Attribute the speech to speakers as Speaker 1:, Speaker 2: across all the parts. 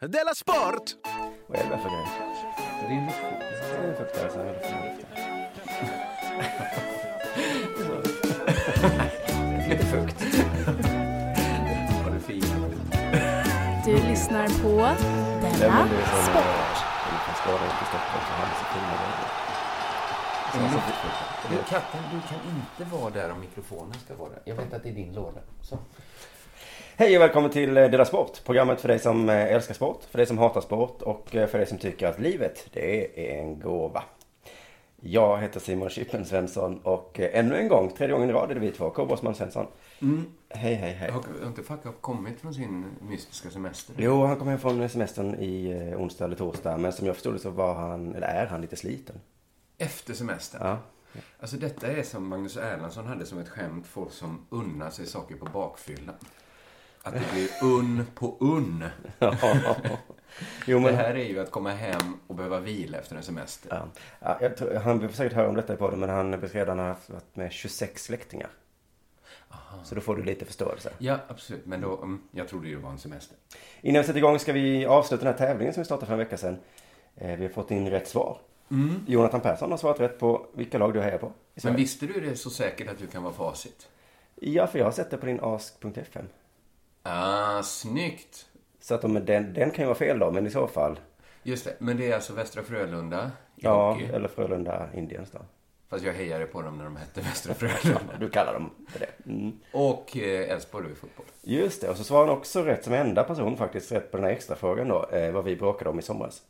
Speaker 1: Della Sport!
Speaker 2: Vad är det där för grej? Det är en motion. Det är en fruktdans, jag höll på med fruktdans. Lite fukt. Vad det är fint.
Speaker 3: Du lyssnar på Della Sport.
Speaker 2: Du, katten, du kan inte vara där om mikrofonen ska vara där. Jag vet att det är din låda. Så.
Speaker 4: Hej och välkommen till eh, Dela Sport! Programmet för dig som eh, älskar sport, för dig som hatar sport och eh, för dig som tycker att livet, det är en gåva. Jag heter Simon Chippen Svensson och eh, ännu en gång, tredje gången i rad är det vi två, Kobosman Svensson. Hej, hej, hej.
Speaker 2: Har har inte Fuck Up kommit från sin mystiska semester?
Speaker 4: Jo, han kom hem från semestern i eh, onsdag eller torsdag, men som jag förstod det så var han, eller är han lite sliten.
Speaker 2: Efter semestern?
Speaker 4: Ja.
Speaker 2: Alltså detta är som Magnus Erlandsson hade som ett skämt, folk som unnar sig saker på bakfyllan. Att det blir unn på unn.
Speaker 4: jo,
Speaker 2: Det
Speaker 4: men
Speaker 2: här är ju att komma hem och behöva vila efter en semester.
Speaker 4: Ja. Ja, jag tror, han vill säkert höra om detta i podden, men han beskrev att han har haft- varit med 26 släktingar. Så då får du lite förståelse.
Speaker 2: Ja, absolut. Men då, mm, jag trodde ju det var en semester.
Speaker 4: Innan vi sätter igång ska vi avsluta den här tävlingen som vi startade för en vecka sedan. Eh, Vi har fått in rätt svar. Jonathan Persson har svarat rätt på vilka lag du hejar på. i
Speaker 2: Mm. Men
Speaker 4: Sverige.
Speaker 2: visste du det så säkert att du kan vara facit?
Speaker 4: Ja, för jag har sett det på din ask.fm.
Speaker 2: Ah, snyggt!
Speaker 4: Så att de, den, den kan ju vara fel då, men i så fall.
Speaker 2: Just det, men det är alltså Västra Frölunda i
Speaker 4: Ja,
Speaker 2: hockey.
Speaker 4: eller Frölunda Indiens då.
Speaker 2: Fast jag hejade på dem när de hette Västra Frölunda.
Speaker 4: Du kallar dem för det. Mm.
Speaker 2: Och eh, Elfsborg då i fotboll.
Speaker 4: Just det, och så svarar han också rätt som enda person faktiskt rätt på den här extra frågan då, eh, vad vi bråkade om i somras.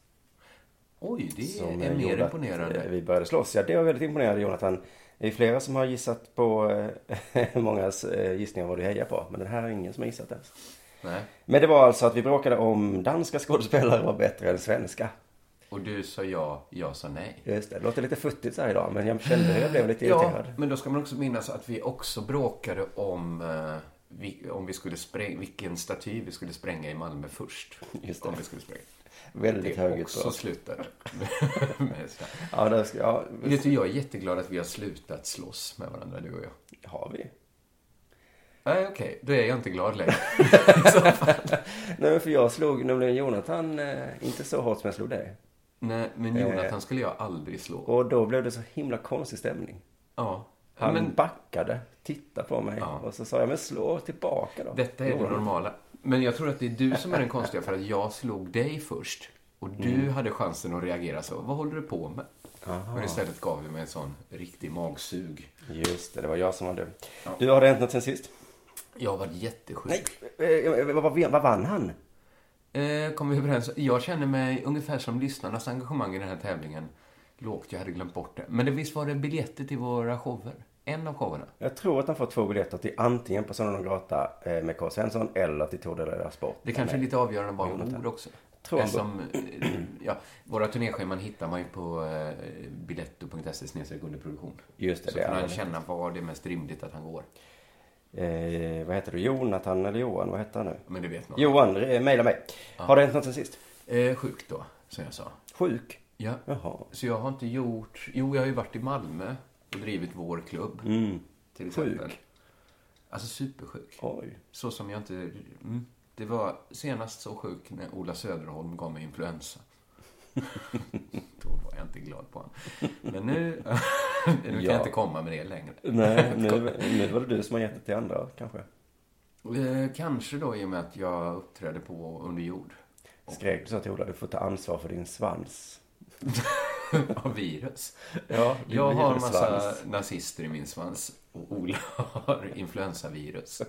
Speaker 2: Oj, det
Speaker 4: som
Speaker 2: är
Speaker 4: eh,
Speaker 2: mer
Speaker 4: gjorde
Speaker 2: imponerande.
Speaker 4: Att eh, vi började slåss. Ja, det var väldigt imponerande Jonathan. Det är flera som har gissat på eh, mångas eh, gissningar vad du hejar på. Men den här är ingen som har gissat ens.
Speaker 2: Nej.
Speaker 4: Men det var alltså att vi bråkade om danska skådespelare var bättre än svenska.
Speaker 2: Och du sa ja, jag sa nej.
Speaker 4: Just det, det låter lite futtigt så här idag men jag kände hur jag blev lite
Speaker 2: Ja,
Speaker 4: irriterad.
Speaker 2: men då ska man också minnas att vi också bråkade om eh, vi, om vi skulle spräng, vilken staty vi skulle spränga i Malmö först.
Speaker 4: Just det.
Speaker 2: Om vi skulle spränga.
Speaker 4: Väldigt
Speaker 2: Det
Speaker 4: högljutt
Speaker 2: också
Speaker 4: bra.
Speaker 2: slutade med straff.
Speaker 4: Ja, där ska, ja,
Speaker 2: Vet du, jag är jätteglad att vi har slutat slåss med varandra, du och jag.
Speaker 4: har vi?
Speaker 2: Nej, okej. Då är jag inte glad längre.
Speaker 4: Nej, men för jag slog nämligen Jonathan, eh, inte så hårt som jag slog dig.
Speaker 2: Nej, men Jonathan skulle jag aldrig slå.
Speaker 4: Och då blev det så himla konstig stämning.
Speaker 2: Ja.
Speaker 4: Han
Speaker 2: Men
Speaker 4: backade, tittade på mig
Speaker 2: Ja.
Speaker 4: och så sa jag, men slå tillbaka då.
Speaker 2: detta är det
Speaker 4: Gjorde han.
Speaker 2: normala. Men jag tror att det är du som är den konstiga för att jag slog dig först. Och du hade chansen att reagera så. Vad håller du på med? Men istället gav du mig en sån riktig magsug.
Speaker 4: Just det, det var jag som var du. Du, har det hänt något sen sist?
Speaker 2: Jag var jättesjuk.
Speaker 4: Eh, eh, Vad, vad, vad vann han?
Speaker 2: Eh, kom vi överens. Jag känner mig ungefär som lyssnarnas engagemang i den här tävlingen. Lågt, jag hade glömt bort det. Men det, visst var det biljetter till våra shower? En av showerna.
Speaker 4: Jag tror att han får två biljetter till antingen Persona non grata eh, med K. Svensson eller till Tour de la Sport.
Speaker 2: Det kanske är lite avgörande bara ord också.
Speaker 4: Tror han
Speaker 2: Eftersom, eh, ja, våra turnéscheman hittar man ju på eh, biletto.se snedstreck underproduktion.
Speaker 4: Just det,
Speaker 2: Så
Speaker 4: det
Speaker 2: kan
Speaker 4: är
Speaker 2: han
Speaker 4: det.
Speaker 2: känna var det är mest rimligt att han går.
Speaker 4: Eh, vad heter du? Jonathan eller Johan? Vad heter han nu?
Speaker 2: Men det vet man.
Speaker 4: Johan, eh, mejla mig. Har det hänt något sen sist?
Speaker 2: Eh, sjuk då, som jag sa.
Speaker 4: Sjuk?
Speaker 2: Ja.
Speaker 4: Jaha.
Speaker 2: Så jag har inte gjort... Jo, jag har ju varit i Malmö och drivit vår klubb. Till exempel.
Speaker 4: Mm. Sjuk.
Speaker 2: Alltså supersjuk.
Speaker 4: Oj.
Speaker 2: Så som jag inte... Mm. Det var senast så sjuk när Ola Söderholm gav mig influensa. Då var jag inte glad på honom. Men nu, nu kan jag
Speaker 4: Ja.
Speaker 2: inte komma med det längre.
Speaker 4: Nej, nu, nu var det du som har gett det till andra kanske.
Speaker 2: Eh, Kanske då i och med att jag uppträdde på Under jord.
Speaker 4: Skrek du så till Ola, du får ta ansvar för din svans.
Speaker 2: Av virus.
Speaker 4: Ja, din
Speaker 2: jag har en
Speaker 4: virussvans.
Speaker 2: massa nazister i min svans. Och Ola har influensavirus.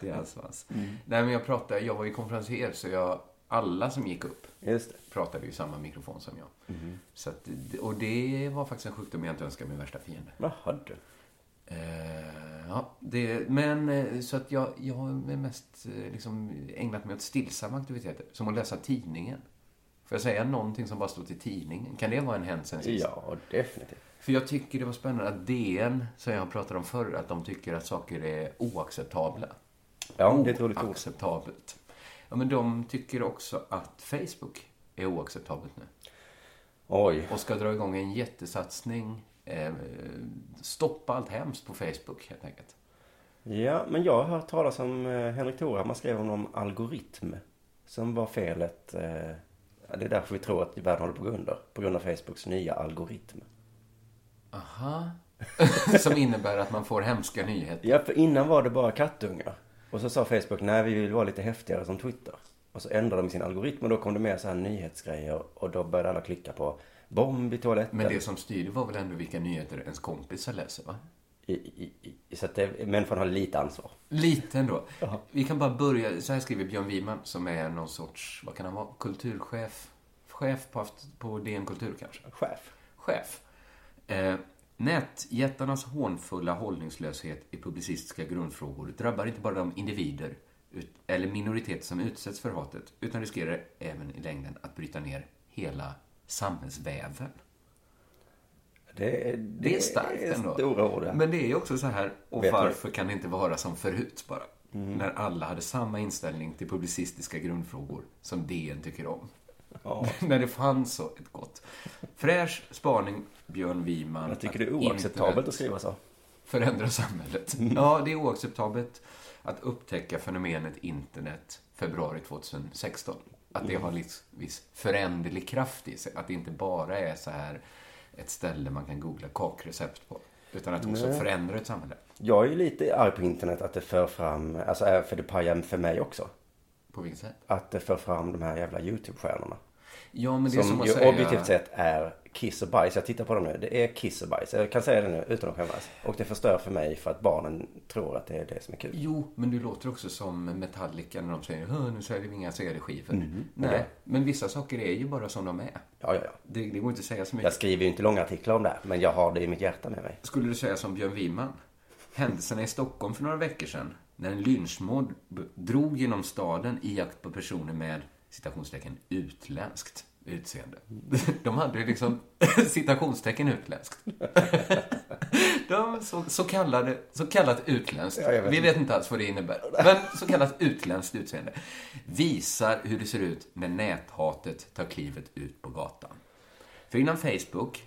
Speaker 2: Det är hans svans. Nej, men jag pratade, jag var ju konferencier så jag, alla som gick upp
Speaker 4: Just det.
Speaker 2: pratade ju i samma mikrofon som jag. Så att, och det var faktiskt en sjukdom jag inte önskar min värsta fiende.
Speaker 4: Jaha du.
Speaker 2: Eh, ja, det, men eh, så att jag, jag har mest eh, liksom, ägnat mig åt stillsamma aktiviteter. Som att läsa tidningen. Får jag säga någonting som bara står till tidningen? Kan det vara en hänt sen sist?
Speaker 4: Ja, definitivt.
Speaker 2: För jag tycker det var spännande att DN, som jag pratade om förr, att de tycker att saker är oacceptabla.
Speaker 4: Ja,
Speaker 2: Oh,
Speaker 4: det är ett roligt ord.
Speaker 2: Oacceptabelt. Ja, men de tycker också att Facebook är oacceptabelt nu.
Speaker 4: Oj.
Speaker 2: och ska dra igång en jättesatsning. Eh, stoppa allt hemskt på Facebook helt enkelt.
Speaker 4: Ja, men jag har hört talas om eh, Henrik Thorhammar skrev om någon algoritm. som var felet. Eh, ja, det är därför vi tror att världen håller på att gå under. På grund av Facebooks nya algoritm.
Speaker 2: Aha. som innebär att man får hemska nyheter.
Speaker 4: Ja, för innan var det bara kattungar. Och så sa Facebook, nej vi vill vara lite häftigare som Twitter. Och så ändrade de sin algoritm och då kom det med så här nyhetsgrejer och då började alla klicka på bomb i toaletten.
Speaker 2: Men det som styrde var väl ändå vilka nyheter ens kompisar läser, va?
Speaker 4: I, i, i, så att det, människan har lite ansvar.
Speaker 2: Lite ändå. Vi kan bara börja, så här skriver Björn Wiman som är någon sorts, vad kan han vara, kulturchef? Chef på, på DN Kultur kanske?
Speaker 4: Chef.
Speaker 2: Chef. Eh, Nätjättarnas hånfulla hållningslöshet i publicistiska grundfrågor drabbar inte bara de individer ut, eller minoriteter som utsätts för hatet, utan riskerar även i längden att bryta ner hela samhällsväven.
Speaker 4: Det, det,
Speaker 2: Det är starkt ändå.
Speaker 4: stora ord. ja.
Speaker 2: Men det är ju också så här, och
Speaker 4: Vet du- Mm.
Speaker 2: varför kan det inte vara som förut bara? När alla hade samma inställning till publicistiska grundfrågor som DN tycker om.
Speaker 4: Ja.
Speaker 2: när det fanns så ett gott. Fräsch spaning, Björn Wiman.
Speaker 4: Jag tycker
Speaker 2: att
Speaker 4: det är oacceptabelt
Speaker 2: internet
Speaker 4: att skriva så.
Speaker 2: Förändra samhället.
Speaker 4: Mm.
Speaker 2: Ja, det är oacceptabelt att upptäcka fenomenet internet februari 2016. Att
Speaker 4: Mm.
Speaker 2: det har en viss- viss föränderlig kraft i sig. Att det inte bara är så här ett ställe man kan googla kakrecept på. Utan att också förändra ett samhälle.
Speaker 4: Jag är ju lite arg på internet att det för fram, alltså eh, för det pajar för mig också.
Speaker 2: På vilket sätt?
Speaker 4: Att det för fram de här jävla YouTube-stjärnorna.
Speaker 2: Ja, men det är
Speaker 4: Som,
Speaker 2: som, att
Speaker 4: ju
Speaker 2: säga...
Speaker 4: objektivt sett är kiss och bajs. Jag tittar på dem nu. Det är kiss och bajs. Jag kan säga det nu utan att skämmas. Och det förstör för mig för att barnen tror att det är det som är kul.
Speaker 2: Jo, men du låter också som Metallica när de säger "Hö, nu säljer vi inga CD-skivor.
Speaker 4: Mm.
Speaker 2: Nej, men vissa saker är ju bara som de är.
Speaker 4: Ja, ja, ja.
Speaker 2: Det, det går inte att säga så mycket.
Speaker 4: Jag skriver ju inte långa artiklar om det här, men jag har det i mitt hjärta med mig.
Speaker 2: Skulle du säga som Björn Wiman? Händelserna i Stockholm för några veckor sedan, när en lynchmord b- drog genom staden i jakt på personer med citationstecken utländskt utseende. De hade ju liksom citationstecken utländskt. De så, så, kallade, så kallat utländskt,
Speaker 4: Ja, jag vet
Speaker 2: vi
Speaker 4: inte.
Speaker 2: vet inte alls vad det innebär, men så kallat utländskt utseende visar hur det ser ut när näthatet tar klivet ut på gatan. För innan Facebook,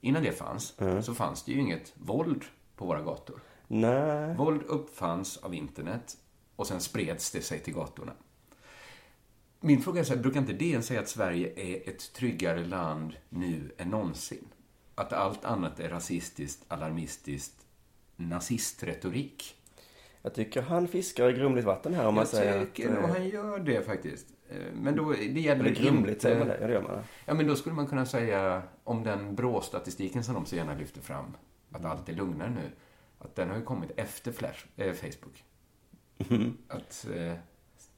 Speaker 2: innan det fanns,
Speaker 4: Mm.
Speaker 2: så fanns det ju inget våld på våra gator.
Speaker 4: Nej.
Speaker 2: Våld uppfanns av internet och sen spreds det sig till gatorna. Min fråga är så här, brukar inte DN säga att Sverige är ett tryggare land nu än någonsin? Att allt annat är rasistiskt, alarmistiskt, nazistretorik?
Speaker 4: Jag tycker han fiskar i grumligt vatten här om man
Speaker 2: Jag
Speaker 4: säger
Speaker 2: tycker
Speaker 4: att...
Speaker 2: nog
Speaker 4: eh,
Speaker 2: han gör det faktiskt. Eh, Men då, det
Speaker 4: Det
Speaker 2: gäller
Speaker 4: är grumligt, säger man
Speaker 2: inte-
Speaker 4: det? Ja, det gör man.
Speaker 2: Ja, men då skulle man kunna säga om den BRÅ-statistiken som de så gärna lyfter fram, att allt är lugnare nu, att den har ju kommit efter Flash, eh, Facebook. Att eh,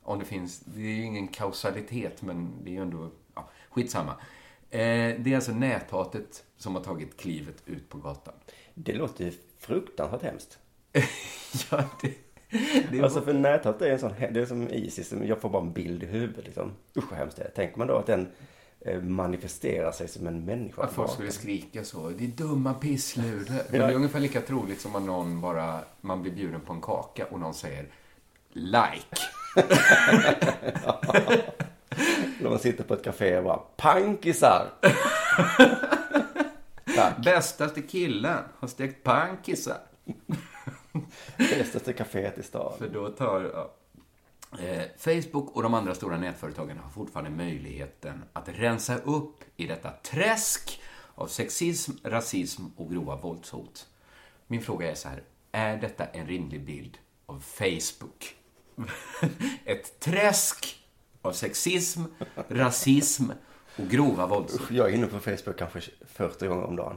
Speaker 2: om det finns, det är ju ingen kausalitet, men det är ju ändå, ja, skitsamma. Eh, det är alltså näthatet som har tagit klivet ut på gatan.
Speaker 4: Det låter ju fruktansvärt hemskt.
Speaker 2: ja, det, det är
Speaker 4: Alltså för näthat är en sån, det är som Isis, jag får bara en bild i huvudet liksom. Usch vad hemskt det är. Tänker man då att den eh, manifesterar sig som en människa?
Speaker 2: Att folk skulle skrika så. Det är dumma pissluder. Men det är ungefär lika troligt som att någon bara, man blir bjuden på en kaka och någon säger like.
Speaker 4: När man sitter på ett café och bara pankisar!
Speaker 2: Bästaste killen har stekt pankisar.
Speaker 4: Bästaste caféet i stan.
Speaker 2: För då tar... Ja. Eh, Facebook och de andra stora nätföretagen har fortfarande möjligheten att rensa upp i detta träsk av sexism, rasism och grova våldshot. Min fråga är så här, är detta en rimlig bild av Facebook? Ett träsk av sexism, rasism och grova våldshot.
Speaker 4: Usch, jag är inne på Facebook kanske 40 gånger om dagen.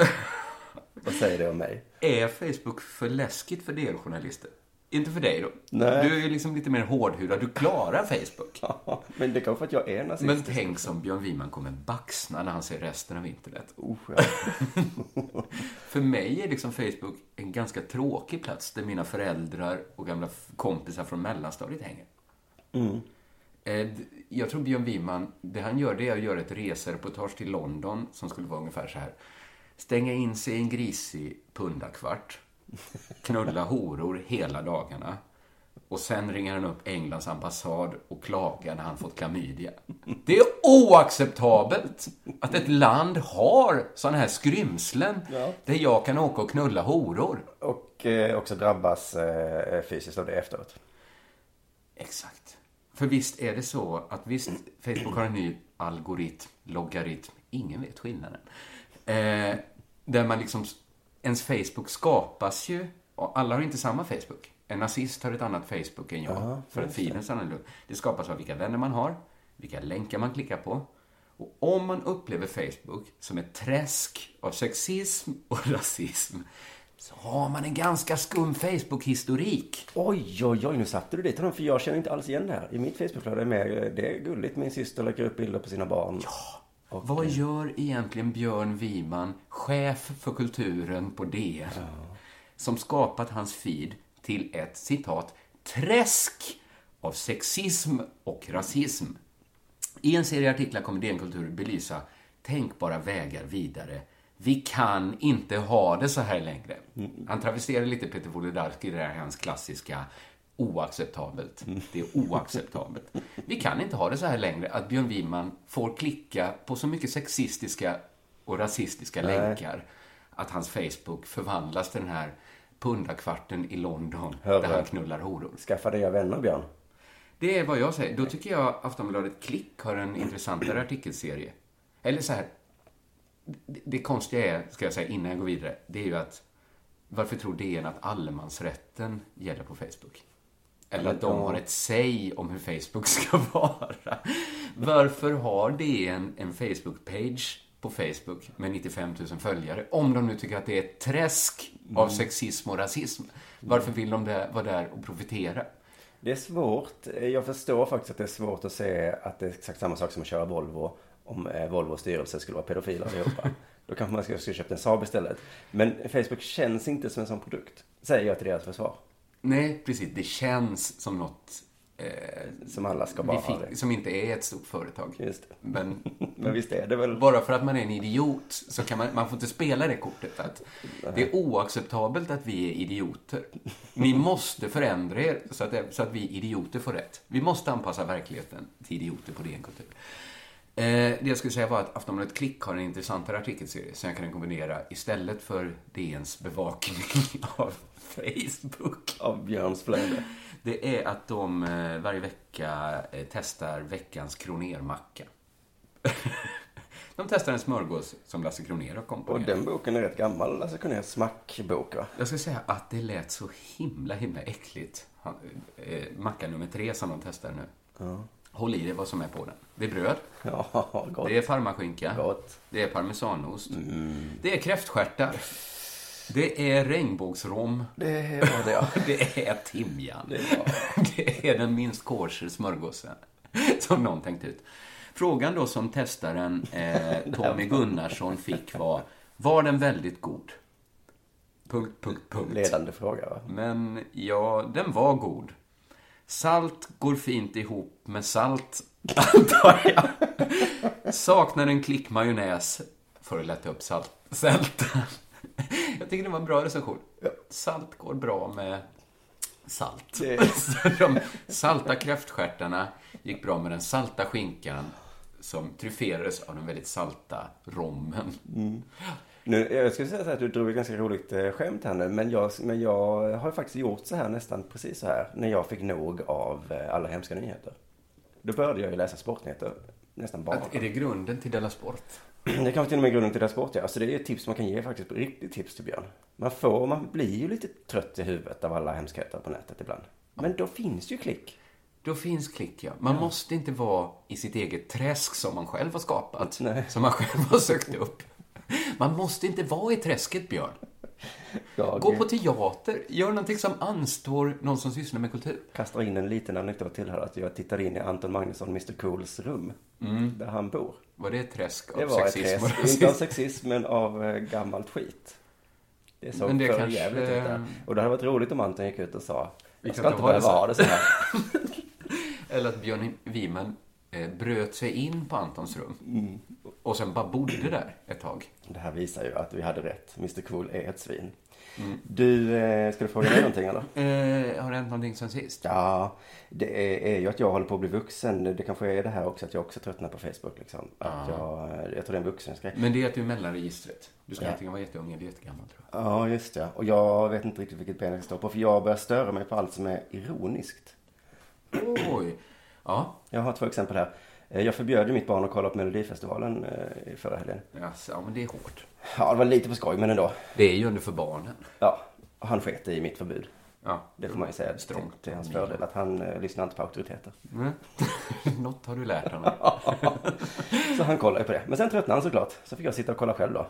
Speaker 4: Vad säger det om mig?
Speaker 2: Är Facebook för läskigt för er journalister? Inte för dig då?
Speaker 4: Nej.
Speaker 2: Du är ju liksom lite mer hårdhudad, du klarar Facebook.
Speaker 4: Men det är kanske för att jag är nazist.
Speaker 2: Men tänk som Björn Wiman kommer baxna när han ser resten av internet. Oh,
Speaker 4: Usch, ja.
Speaker 2: För mig är liksom Facebook en ganska tråkig plats där mina föräldrar och gamla f- kompisar från mellanstadiet hänger. Eh, d- Jag tror Björn Wiman, det han gör det är att göra ett resereportage till London som skulle vara ungefär så här. Stänga in sig i en grisig pundakvart, knulla horor hela dagarna och sen ringer han upp Englands ambassad och klagar när han fått klamydia. Det är oacceptabelt att ett land har sådana här skrymslen där jag kan åka och knulla horor.
Speaker 4: Och eh, också drabbas eh, fysiskt av det efteråt.
Speaker 2: Exakt. För För visst är det så att visst, Facebook har en ny algoritm, logaritm, ingen vet skillnaden. Eh, där man liksom, ens Facebook skapas ju, och alla har inte samma Facebook. En nazist har ett annat Facebook än jag,
Speaker 4: Ja,
Speaker 2: för att filen är annorlunda. Det skapas av vilka vänner man har, vilka länkar man klickar på. Och om man upplever Facebook som ett träsk av sexism och rasism, så har man en ganska skum Facebook-historik.
Speaker 4: Oj, oj, oj, nu satte du dit honom för jag känner inte alls igen det här. I mitt Facebookflöde är med, det är gulligt, min syster lägger upp bilder på sina barn. Ja.
Speaker 2: Vad gör egentligen Björn Wiman, chef för kulturen på DN, som skapat hans feed till ett citat träsk av sexism och rasism? I en serie artiklar kommer DN Kultur belysa tänkbara vägar vidare. Vi kan inte ha det så här längre. Han travesterar lite Peter Wolodarski i det här hans klassiska oacceptabelt. Det är oacceptabelt. Vi kan inte ha det så här längre att Björn Wiman får klicka på så mycket sexistiska och rasistiska länkar att hans Facebook förvandlas till den här pundakvarten i London
Speaker 4: Hörru.
Speaker 2: där han knullar horor.
Speaker 4: Skaffa dig vänner, Björn.
Speaker 2: Det är vad jag säger. Då tycker jag Aftonbladet Klick har en intressantare artikelserie. Eller så här. Det, det konstiga är, ska jag säga innan jag går vidare, det är ju att varför tror DN att allemansrätten gäller på Facebook? Eller att de har ett säg om hur Facebook ska vara. Varför har DN en Facebook-page på Facebook med 95 000 följare? Om de nu tycker att det är ett träsk av sexism och rasism. Varför vill de där, vara där och profitera?
Speaker 4: Det är svårt. Jag förstår faktiskt att det är svårt att se att det är exakt samma sak som att köra Volvo. Om eh, Volvos styrelse skulle vara pedofiler allihopa. Då kanske man skulle skulle köpt en Saab istället. Men Facebook känns inte som en sån produkt. Säger jag till deras försvar.
Speaker 2: Nej, precis. Det känns som något eh,
Speaker 4: Som alla ska bara
Speaker 2: vi
Speaker 4: ha
Speaker 2: fick,
Speaker 4: det.
Speaker 2: som inte är ett stort företag.
Speaker 4: Just det.
Speaker 2: Men
Speaker 4: Men visst är det väl...
Speaker 2: bara för att man är en idiot så kan man, man får inte spela det kortet. Att det är oacceptabelt att vi är idioter. Ni måste förändra er så att, det, så att vi idioter får rätt. Vi måste anpassa verkligheten till idioter på DN Kultur. Eh, det jag skulle säga var att Aftonbladet Klick har en intressantare artikelserie som jag kan rekommendera istället för DNs bevakning av Facebook.
Speaker 4: Av Björns flöde.
Speaker 2: Det är att de eh, varje vecka eh, testar veckans kronermacka. de testar en smörgås som Lasse Kronér har kommit på.
Speaker 4: Och den boken är rätt gammal. alltså Lasse Kronérs smackbok va?
Speaker 2: Jag ska säga att det lät så himla, himla äckligt. Han, eh, macka nummer tre som de testar nu. Håll i dig vad som är på den. Det är bröd,
Speaker 4: Ja, gott.
Speaker 2: det är parmaskinka,
Speaker 4: Gott. Mm.
Speaker 2: det är parmesanost, det är kräftstjärtar, det är regnbågsrom,
Speaker 4: Det var det ja.
Speaker 2: Det är timjan. Det är den minst kosher smörgåsen som någon tänkt ut. Frågan då som testaren eh, Tommy Gunnarsson fick var, var den väldigt god? Punkt, punkt, punkt.
Speaker 4: Ledande fråga va?
Speaker 2: Men ja, den var god. Salt går fint ihop med salt, antar jag. Saknar en klick majonnäs för att lätta upp salt, sältan. Jag tycker det var en bra recension. Salt går bra med salt.
Speaker 4: Det-
Speaker 2: Så de salta kräftstjärtarna gick bra med den salta skinkan som tryfferades av den väldigt salta rommen.
Speaker 4: Nu, jag skulle säga så här att du drog ett ganska roligt eh, skämt här nu, men jag, men jag har faktiskt gjort så här nästan precis så här när jag fick nog av eh, alla hemska nyheter. Då började jag ju läsa sportnyheter nästan bara.
Speaker 2: Att, är det grunden till Della Sport?
Speaker 4: Det kanske till och med är grunden till deras sport, ja. Alltså det är ett tips man kan ge faktiskt, riktigt tips till Björn. Man får, man blir ju lite trött i huvudet av alla hemskheter på nätet ibland. Men då finns ju klick.
Speaker 2: Då finns klick, ja. Man måste inte vara i sitt eget träsk som man själv har skapat.
Speaker 4: Nej.
Speaker 2: Som man själv har sökt upp. Man måste inte vara i träsket, Björn.
Speaker 4: Jag
Speaker 2: Gå på teater. Gör någonting som anstår någon som sysslar med kultur.
Speaker 4: kastar in en liten anekdot till här, att jag tittade in i Anton Magnusson, Mr Cools rum, där han bor.
Speaker 2: Var det ett träsk av
Speaker 4: Det var ett
Speaker 2: sexism och
Speaker 4: träsk.
Speaker 2: rasism?
Speaker 4: Inte av sexism, men av eh, gammalt skit. Det såg
Speaker 2: Men det
Speaker 4: för
Speaker 2: kanske-
Speaker 4: jävligt ut där. Och det hade varit roligt om Anton gick ut och sa
Speaker 2: Vi
Speaker 4: jag
Speaker 2: kan
Speaker 4: ska
Speaker 2: inte
Speaker 4: inte
Speaker 2: ha
Speaker 4: behöva
Speaker 2: det så här."
Speaker 4: ha det så här.
Speaker 2: Eller att Björn Wiman eh, bröt sig in på Antons rum.
Speaker 4: Mm.
Speaker 2: Och sen bara bodde där ett tag.
Speaker 4: Det här visar ju att vi hade rätt. Mr Cool är ett svin.
Speaker 2: Mm.
Speaker 4: Du, eh, ska du fråga mig någonting eller?
Speaker 2: Eh, har det hänt någonting sen sist?
Speaker 4: Ja, det är, är ju att jag håller på att bli vuxen. Det kanske är det här också att jag också tröttnar på Facebook liksom. Att jag, eh, jag tror det är en vuxensgrej.
Speaker 2: Ah. Men det är att du är mellanregistret. Du ska
Speaker 4: Ja.
Speaker 2: antingen vara jätteung eller jättegammal, tror jag.
Speaker 4: Ja, just det. Och jag vet inte riktigt vilket ben jag ska stå på. För jag börjar störa mig på allt som är ironiskt.
Speaker 2: Oj! Ja.
Speaker 4: Jag har två exempel här. Eh, Jag förbjöd ju mitt barn att kolla på Melodifestivalen eh, i förra helgen.
Speaker 2: Alltså, ja, men det är hårt.
Speaker 4: Ja, det var lite på skoj, men ändå.
Speaker 2: Det är ju ändå för barnen.
Speaker 4: Ja, och han sket i mitt förbud.
Speaker 2: Ja.
Speaker 4: Det får man ju säga till,
Speaker 2: Strångt.
Speaker 4: till hans fördel, att han eh, lyssnar inte på auktoriteter.
Speaker 2: Mm. Något har du lärt honom.
Speaker 4: Så han kollade ju på det. Men sen tröttnade han såklart. Så fick jag sitta och kolla själv då.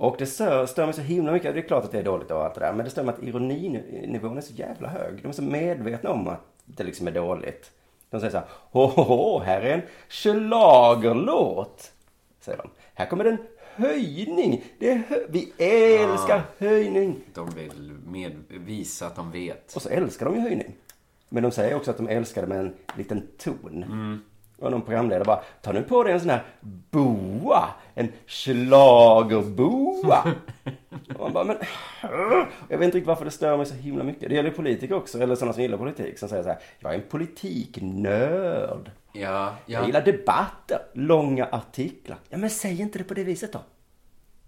Speaker 4: Och det stör, stör mig så himla mycket. Det är klart att det är dåligt och allt det där. Men det stör mig att ironinivån är så jävla hög. De är så medvetna om att det liksom är dåligt. De säger så här. Åhå, här är en schlagerlåt. Säger de. Här kommer en höjning. Det är hö- Vi älskar höjning.
Speaker 2: De vill med, visa att de vet.
Speaker 4: Och så älskar de ju höjning. Men de säger också att de älskar det med en liten ton.
Speaker 2: Mm.
Speaker 4: Och någon programledare bara, ta nu på dig en sån här boa, en schlagerboa. och man bara, men jag vet inte riktigt varför det stör mig så himla mycket. Det gäller politiker också, eller sådana som gillar politik, som säger så här, jag är en politiknörd.
Speaker 2: Ja,
Speaker 4: Jag
Speaker 2: ja.
Speaker 4: gillar debatter, långa artiklar. Ja men säg inte det på det viset då.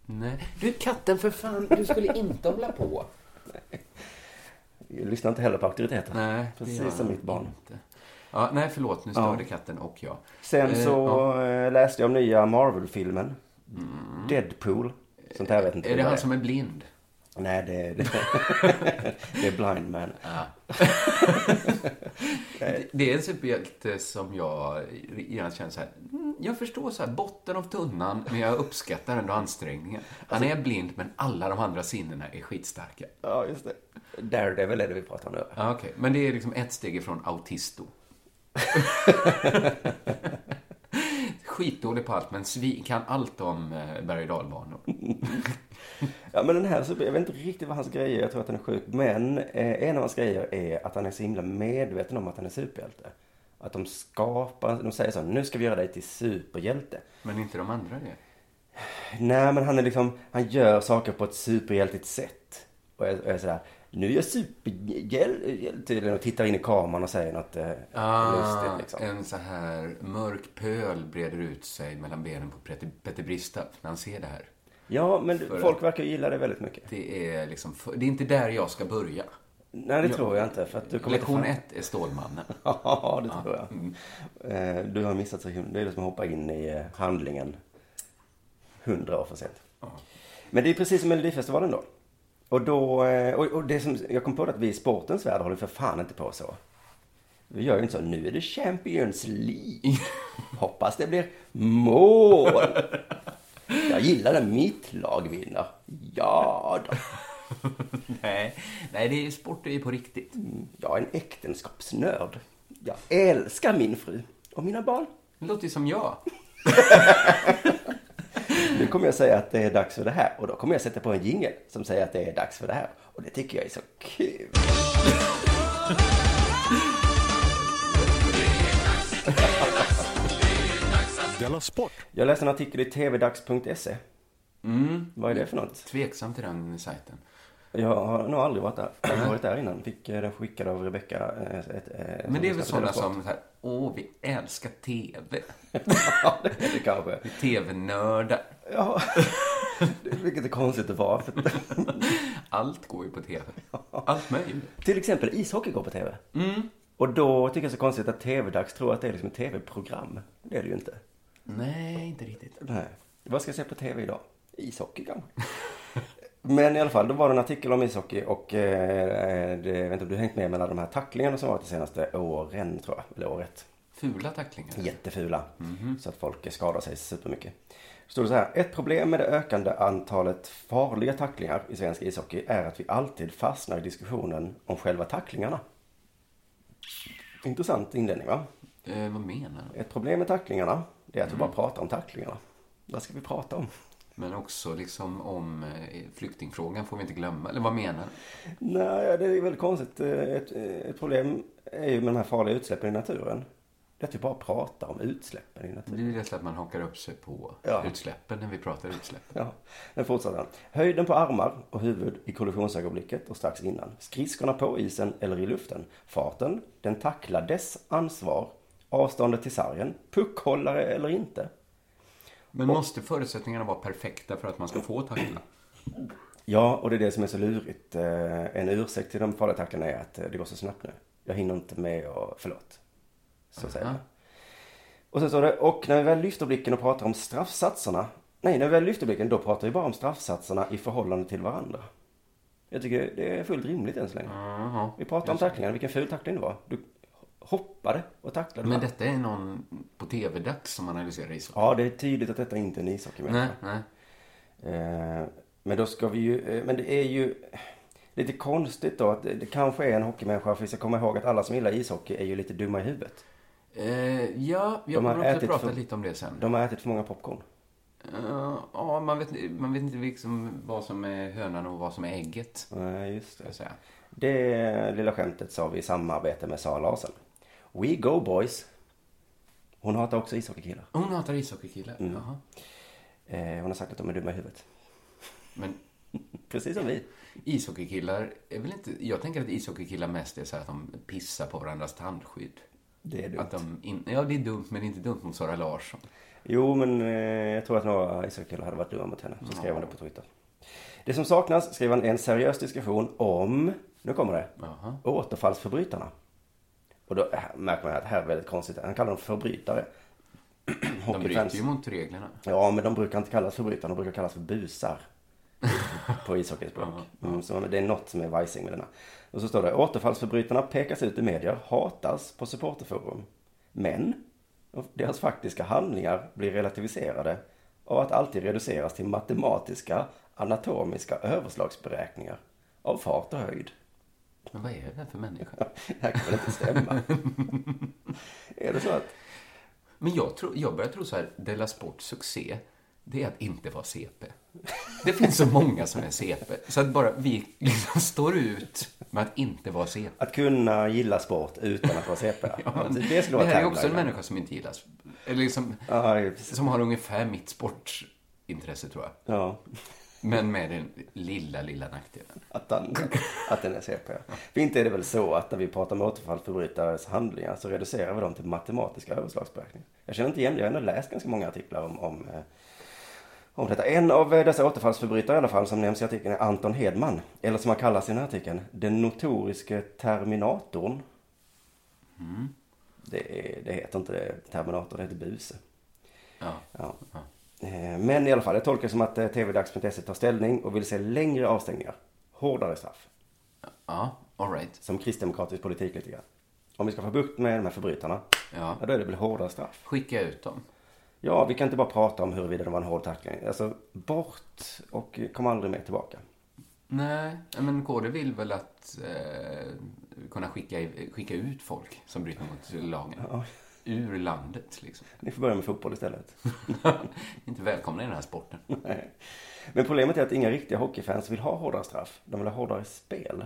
Speaker 2: Nej. Du katten för fan, du skulle inte hålla på.
Speaker 4: Jag lyssnar inte heller på auktoriteter.
Speaker 2: Nej, det gör
Speaker 4: Precis som
Speaker 2: han
Speaker 4: mitt barn.
Speaker 2: Inte. Ja, nej, förlåt. Nu störde katten och jag.
Speaker 4: Sen
Speaker 2: Eh,
Speaker 4: så
Speaker 2: ja. Mm.
Speaker 4: eh, läste jag om nya Marvel-filmen. Deadpool. Sånt här jag vet inte
Speaker 2: Är det
Speaker 4: vad
Speaker 2: han som är blind?
Speaker 4: Nej, det är... Det, det är Blind Man.
Speaker 2: Det- Det är en superhjälte som jag gärna känner så här. "Mm, Jag förstår så här botten av tunnan, men jag uppskattar ändå ansträngningen. Han
Speaker 4: Alltså-
Speaker 2: är blind, men alla de andra sinnena är skitstarka.
Speaker 4: Ja, just det. Daredevil är det vi pratar om nu.
Speaker 2: Ja, okej. Men det är liksom ett steg ifrån autisto. Skitdålig på allt, men svin, kan allt om eh, berg och dalbanor.
Speaker 4: Ja, men den här, så- jag vet inte riktigt vad hans grejer är. Jag tror att han är sjuk. Men eh, en av hans grejer är att han är så himla medveten om att han är superhjälte. Att de skapar, de säger så nu ska vi göra dig till superhjälte.
Speaker 2: Men inte de andra det.
Speaker 4: Nej, men han är liksom, han gör saker på ett superhjältigt sätt. Och jag, jag är sådär, nu är jag superhjälte tydligen och tittar in i kameran och säger något eh,
Speaker 2: Ah,
Speaker 4: lustigt liksom.
Speaker 2: En så här mörk pöl breder ut sig mellan benen på Petter- Petter Bristorp när han ser det här.
Speaker 4: Ja, men du, folk verkar ju gilla det väldigt mycket.
Speaker 2: Det är liksom, för- det är inte där jag ska börja.
Speaker 4: Nej, det tror jag inte. För att du kommer
Speaker 2: Lektion
Speaker 4: inte...
Speaker 2: ett är Stålmannen.
Speaker 4: Ja, det tror jag. Eh, Du har missat så himla... Det är liksom att hoppa in i eh, handlingen hundra år för sent. Men det är precis som Melodifestivalen då. Och då... eh, Och, och det som... Jag kom på det att vi i sportens värld håller för fan inte på så. Vi gör ju inte så. Nu är det Champions League. Hoppas det blir mål. Jag gillar när mitt lag vinner. Ja då.
Speaker 2: Nej, nej, det är sport det är på riktigt.
Speaker 4: Mm, Jag är en äktenskapsnörd. Jag älskar min fru och mina barn.
Speaker 2: Det låter ju som jag.
Speaker 4: Nu kommer jag säga att det är dags för det här och då kommer jag sätta på en jingel som säger att det är dags för det här. Och det tycker jag är så kul.
Speaker 1: Della Sport!
Speaker 4: Jag läste en artikel i tvdags.se.
Speaker 2: Mm.
Speaker 4: Vad är det för något?
Speaker 2: Tveksam till den sajten.
Speaker 4: Jag har nog aldrig varit där, Jag har varit där innan. Fick eh, den skickad av Rebecka. eh, Ett, eh, som
Speaker 2: Men det är
Speaker 4: lyssnar
Speaker 2: väl
Speaker 4: på Della
Speaker 2: sådana
Speaker 4: Sport.
Speaker 2: som så här, åh, vi älskar TV.
Speaker 4: ja, det är det kanske.
Speaker 2: TV-nördar.
Speaker 4: Ja. Vilket är konstigt att vara. För...
Speaker 2: Allt går ju på TV. Allt möjligt.
Speaker 4: Till exempel ishockey går på TV.
Speaker 2: Mm.
Speaker 4: Och då tycker jag så konstigt att TV-dags tror att det är liksom ett TV-program. Det är det ju inte.
Speaker 2: Nej, inte riktigt.
Speaker 4: Nej. Vad ska jag se på TV idag? Ishockey kanske? Men i alla fall, då var det en artikel om ishockey och eh, det, jag vet inte om du har hängt med med alla de här tacklingarna som varit de senaste åren tror jag, eller året.
Speaker 2: Fula tacklingar.
Speaker 4: Jättefula. Så att folk skadar sig supermycket. Så Står det så här. Ett problem med det ökande antalet farliga tacklingar i svensk ishockey är att vi alltid fastnar i diskussionen om själva tacklingarna. Intressant inledning va?
Speaker 2: Eh, vad menar du?
Speaker 4: Ett problem med tacklingarna det är att vi bara pratar om tacklingarna. Vad ska vi prata om?
Speaker 2: Men också liksom om eh, flyktingfrågan får vi inte glömma. Eller vad menar du?
Speaker 4: Nej, det är väldigt konstigt. Eh, Ett, ett problem är ju med de här farliga utsläppen i naturen. Det är att vi bara pratar om utsläppen i naturen.
Speaker 2: Det är ju lätt att man hakar upp sig på
Speaker 4: Ja.
Speaker 2: utsläppen när vi pratar utsläpp.
Speaker 4: Ja, den fortsätter han. Höjden på armar och huvud i kollisionsögonblicket och strax innan. Skridskorna på isen eller i luften. Farten, den tacklades ansvar. Avståndet till sargen. Puckhållare eller inte.
Speaker 2: Men måste förutsättningarna vara perfekta för att man ska få tackla?
Speaker 4: Ja, och det är det som är så lurigt. Eh, En ursäkt till de farliga tacklarna är att eh, det går så snabbt nu. Jag hinner inte med och... Förlåt. Så säger jag. Och sen står det, och när vi väl lyfter blicken och pratar om straffsatserna. Nej, när vi väl lyfter blicken då pratar vi bara om straffsatserna i förhållande till varandra. Jag tycker det är fullt rimligt än så länge.
Speaker 2: Jaha.
Speaker 4: Vi pratar om tacklingar, vilken ful tackling det var. Du hoppade och tacklade.
Speaker 2: Men
Speaker 4: va?
Speaker 2: detta är någon på tv-dags som analyserar ishockey.
Speaker 4: Ja, det är tydligt att detta inte är en ishockeymätare.
Speaker 2: Nej, nej.
Speaker 4: Eh, Men då ska vi ju, eh, men det är ju lite konstigt då att det det kanske är en hockeymänniska för vi ska komma ihåg att alla som gillar ishockey är ju lite dumma i huvudet.
Speaker 2: Eh, ja, jag
Speaker 4: De har
Speaker 2: kommer också
Speaker 4: ätit
Speaker 2: prata
Speaker 4: för-
Speaker 2: lite om det sen.
Speaker 4: De har ätit för många popcorn.
Speaker 2: Eh, ja, man vet, man vet inte liksom vad som är hönan och vad som är ägget. Ska
Speaker 4: Nej, Eh, just det.
Speaker 2: jag säga.
Speaker 4: Det lilla skämtet sa vi i samarbete med Sara Larsson. We go boys. Hon hatar också ishockeykillar.
Speaker 2: Hon hatar ishockeykillar.
Speaker 4: Mm.
Speaker 2: Jaha.
Speaker 4: Eh, hon har sagt att de är dumma i huvudet.
Speaker 2: Men
Speaker 4: Precis som vi.
Speaker 2: ishockeykillar är väl inte... Jag tänker att ishockeykillar mest är så här att de pissar på varandras tandskydd.
Speaker 4: Det är dumt.
Speaker 2: Att de in, ja, det är dumt, men inte dumt mot Sara Larsson.
Speaker 4: Jo, men eh, jag tror att några ishockeykillar hade varit dumma mot henne. Så skrev han det på Twitter. Det som saknas, skrev han, är en seriös diskussion om, nu kommer det,
Speaker 2: Jaha.
Speaker 4: återfallsförbrytarna. Och då äh, märker man att det här är väldigt konstigt. Han kallar dem förbrytare.
Speaker 2: De bryter ju mot reglerna.
Speaker 4: Ja, men de brukar inte kallas förbrytare, de brukar kallas för busar. På ishockeyspråk. Mm, så det är något som är vajsing med denna. Och så står det, återfallsförbrytarna pekas ut i medier, hatas på supporterforum. Men, deras faktiska handlingar blir relativiserade av att alltid reduceras till matematiska, anatomiska överslagsberäkningar av fart och höjd.
Speaker 2: Men vad är det för människa?
Speaker 4: det här kan väl inte stämma? är det så att
Speaker 2: Men jag, tror, jag börjar tro så här, Della Sports succé, det är att inte vara CP. Det finns så många som är CP, så att bara vi liksom står ut med att inte vara CP.
Speaker 4: Att kunna gilla sport utan att vara CP. det skulle
Speaker 2: det
Speaker 4: vara
Speaker 2: här är också en
Speaker 4: tagline.
Speaker 2: människa som inte gillas. Eller liksom,
Speaker 4: Ja, det är precis.
Speaker 2: som har ungefär mitt sportintresse, tror jag.
Speaker 4: Ja,
Speaker 2: Men med den lilla, lilla nackdelen.
Speaker 4: att den, att den är CP. För inte är det väl så att när vi pratar om återfallsförbrytares handlingar så reducerar vi dem till matematiska överslagsberäkningar. Jag känner inte igen det, jag har ändå läst ganska många artiklar om, om, eh, om detta. En av eh, dessa återfallsförbrytare i alla fall som nämns i artikeln är Anton Hedman. Eller som han kallas i den här artikeln, den notoriske Terminatorn. Det, är, det heter inte det, Terminator, det heter Buse.
Speaker 2: Ja.
Speaker 4: Ja. Eh, Men i alla fall, jag tolkar det som att eh, tvdags.se tar ställning och vill se längre avstängningar. Hårdare straff.
Speaker 2: Ja, all right.
Speaker 4: Som kristdemokratisk politik lite grann. Om vi ska få bukt med de här förbrytarna,
Speaker 2: Ja.
Speaker 4: då är det väl hårdare straff.
Speaker 2: Skicka ut dem.
Speaker 4: Ja, vi kan inte bara prata om huruvida det var en hård tackling. Alltså, bort och kom aldrig mer tillbaka.
Speaker 2: Nej, men KD vill väl att eh, kunna skicka, i- skicka ut folk som bryter mot lagen. Ur landet, liksom.
Speaker 4: Ni får börja med fotboll istället.
Speaker 2: inte välkomna i den här sporten.
Speaker 4: Nej. Men problemet är att inga riktiga hockeyfans vill ha hårdare straff. De vill ha hårdare spel.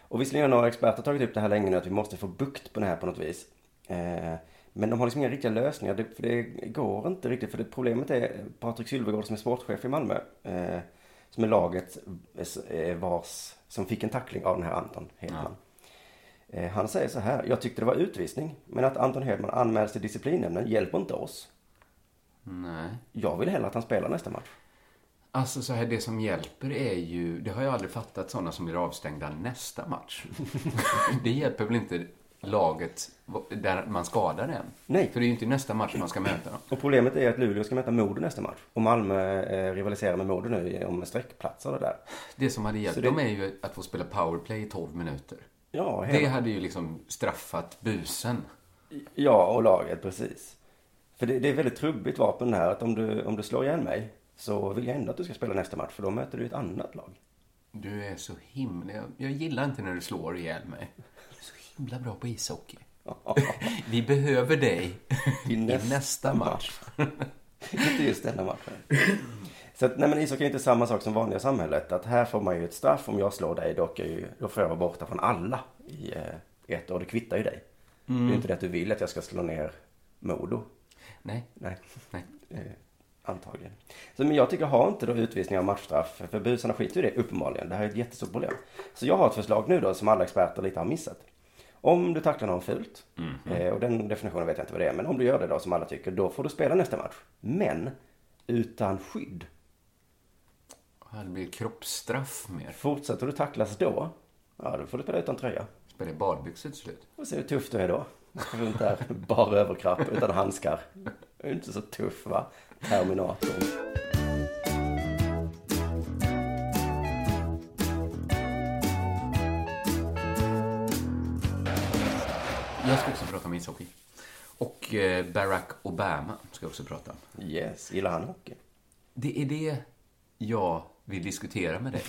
Speaker 4: Och visserligen har några experter tagit upp det här länge nu att vi måste få bukt på det här på något vis. Eh, Men de har liksom inga riktiga lösningar, det, för det går inte riktigt. För det, problemet är Patrik Sylvegård som är sportchef i Malmö, eh, som är laget eh, vars, som fick en tackling av den här Anton Hedman. Eh, Han säger så här, jag tyckte det var utvisning, men att Anton Hedman anmäls till disciplinnämnden hjälper inte oss.
Speaker 2: Nej.
Speaker 4: Jag vill hellre att han spelar nästa match.
Speaker 2: Alltså så här, det som hjälper är ju, det har jag aldrig fattat, sådana som blir avstängda nästa match. det hjälper väl inte laget där man skadar en?
Speaker 4: Nej.
Speaker 2: För det är ju inte nästa match man ska möta dem.
Speaker 4: Och problemet är att Luleå ska möta Modo nästa match. Och Malmö eh, rivaliserar med Modo nu om sträckplatser och det där.
Speaker 2: Det som hade hjälpt
Speaker 4: Så det-
Speaker 2: dem är ju att få spela powerplay i 12 minuter.
Speaker 4: Ja,
Speaker 2: Det
Speaker 4: hela,
Speaker 2: hade ju liksom straffat busen.
Speaker 4: ja och laget, precis. För det, det är väldigt trubbigt vapen det här att om du, om du slår ihjäl mig så vill jag ändå att du ska spela nästa match för då möter du ett annat lag.
Speaker 2: Du är så himla... Jag, jag gillar inte när du slår ihjäl mig. Du är så himla bra på ishockey. Vi behöver dig i nästa, match.
Speaker 4: inte just denna matchen. Så att, nej men ishockey är inte samma sak som vanliga samhället. Att här får man ju ett straff. Om jag slår dig då, kan jag ju, då får jag vara borta från alla i eh, ett år. Det kvittar ju dig. Det är inte det att du vill att jag ska slå ner Modo.
Speaker 2: Nej,
Speaker 4: Nej.
Speaker 2: nej.
Speaker 4: Eh, antagligen. Så, men jag tycker, ha inte då utvisningar och matchstraff. För busarna skiter ju i det uppenbarligen. Det här är ett jättestort problem. Så jag har ett förslag nu då som alla experter lite har missat. Om du tacklar någon fult, eh, och den definitionen vet jag inte vad det är, men om du gör det då som alla tycker, då får du spela nästa match. Men utan skydd.
Speaker 2: Det blir kroppsstraff mer.
Speaker 4: Fortsätter du tacklas då, ja då får du spela utan tröja.
Speaker 2: Spelar i badbyxor till slut.
Speaker 4: Och se hur tuff du är då. runt där, bara överkropp utan handskar. Det är Inte så tuff va? Terminatorn.
Speaker 2: Jag ska också prata om ishockey. Och eh, Barack Obama ska jag också prata om.
Speaker 4: Yes, gillar han hockey?
Speaker 2: Det är det jag vill diskutera med dig.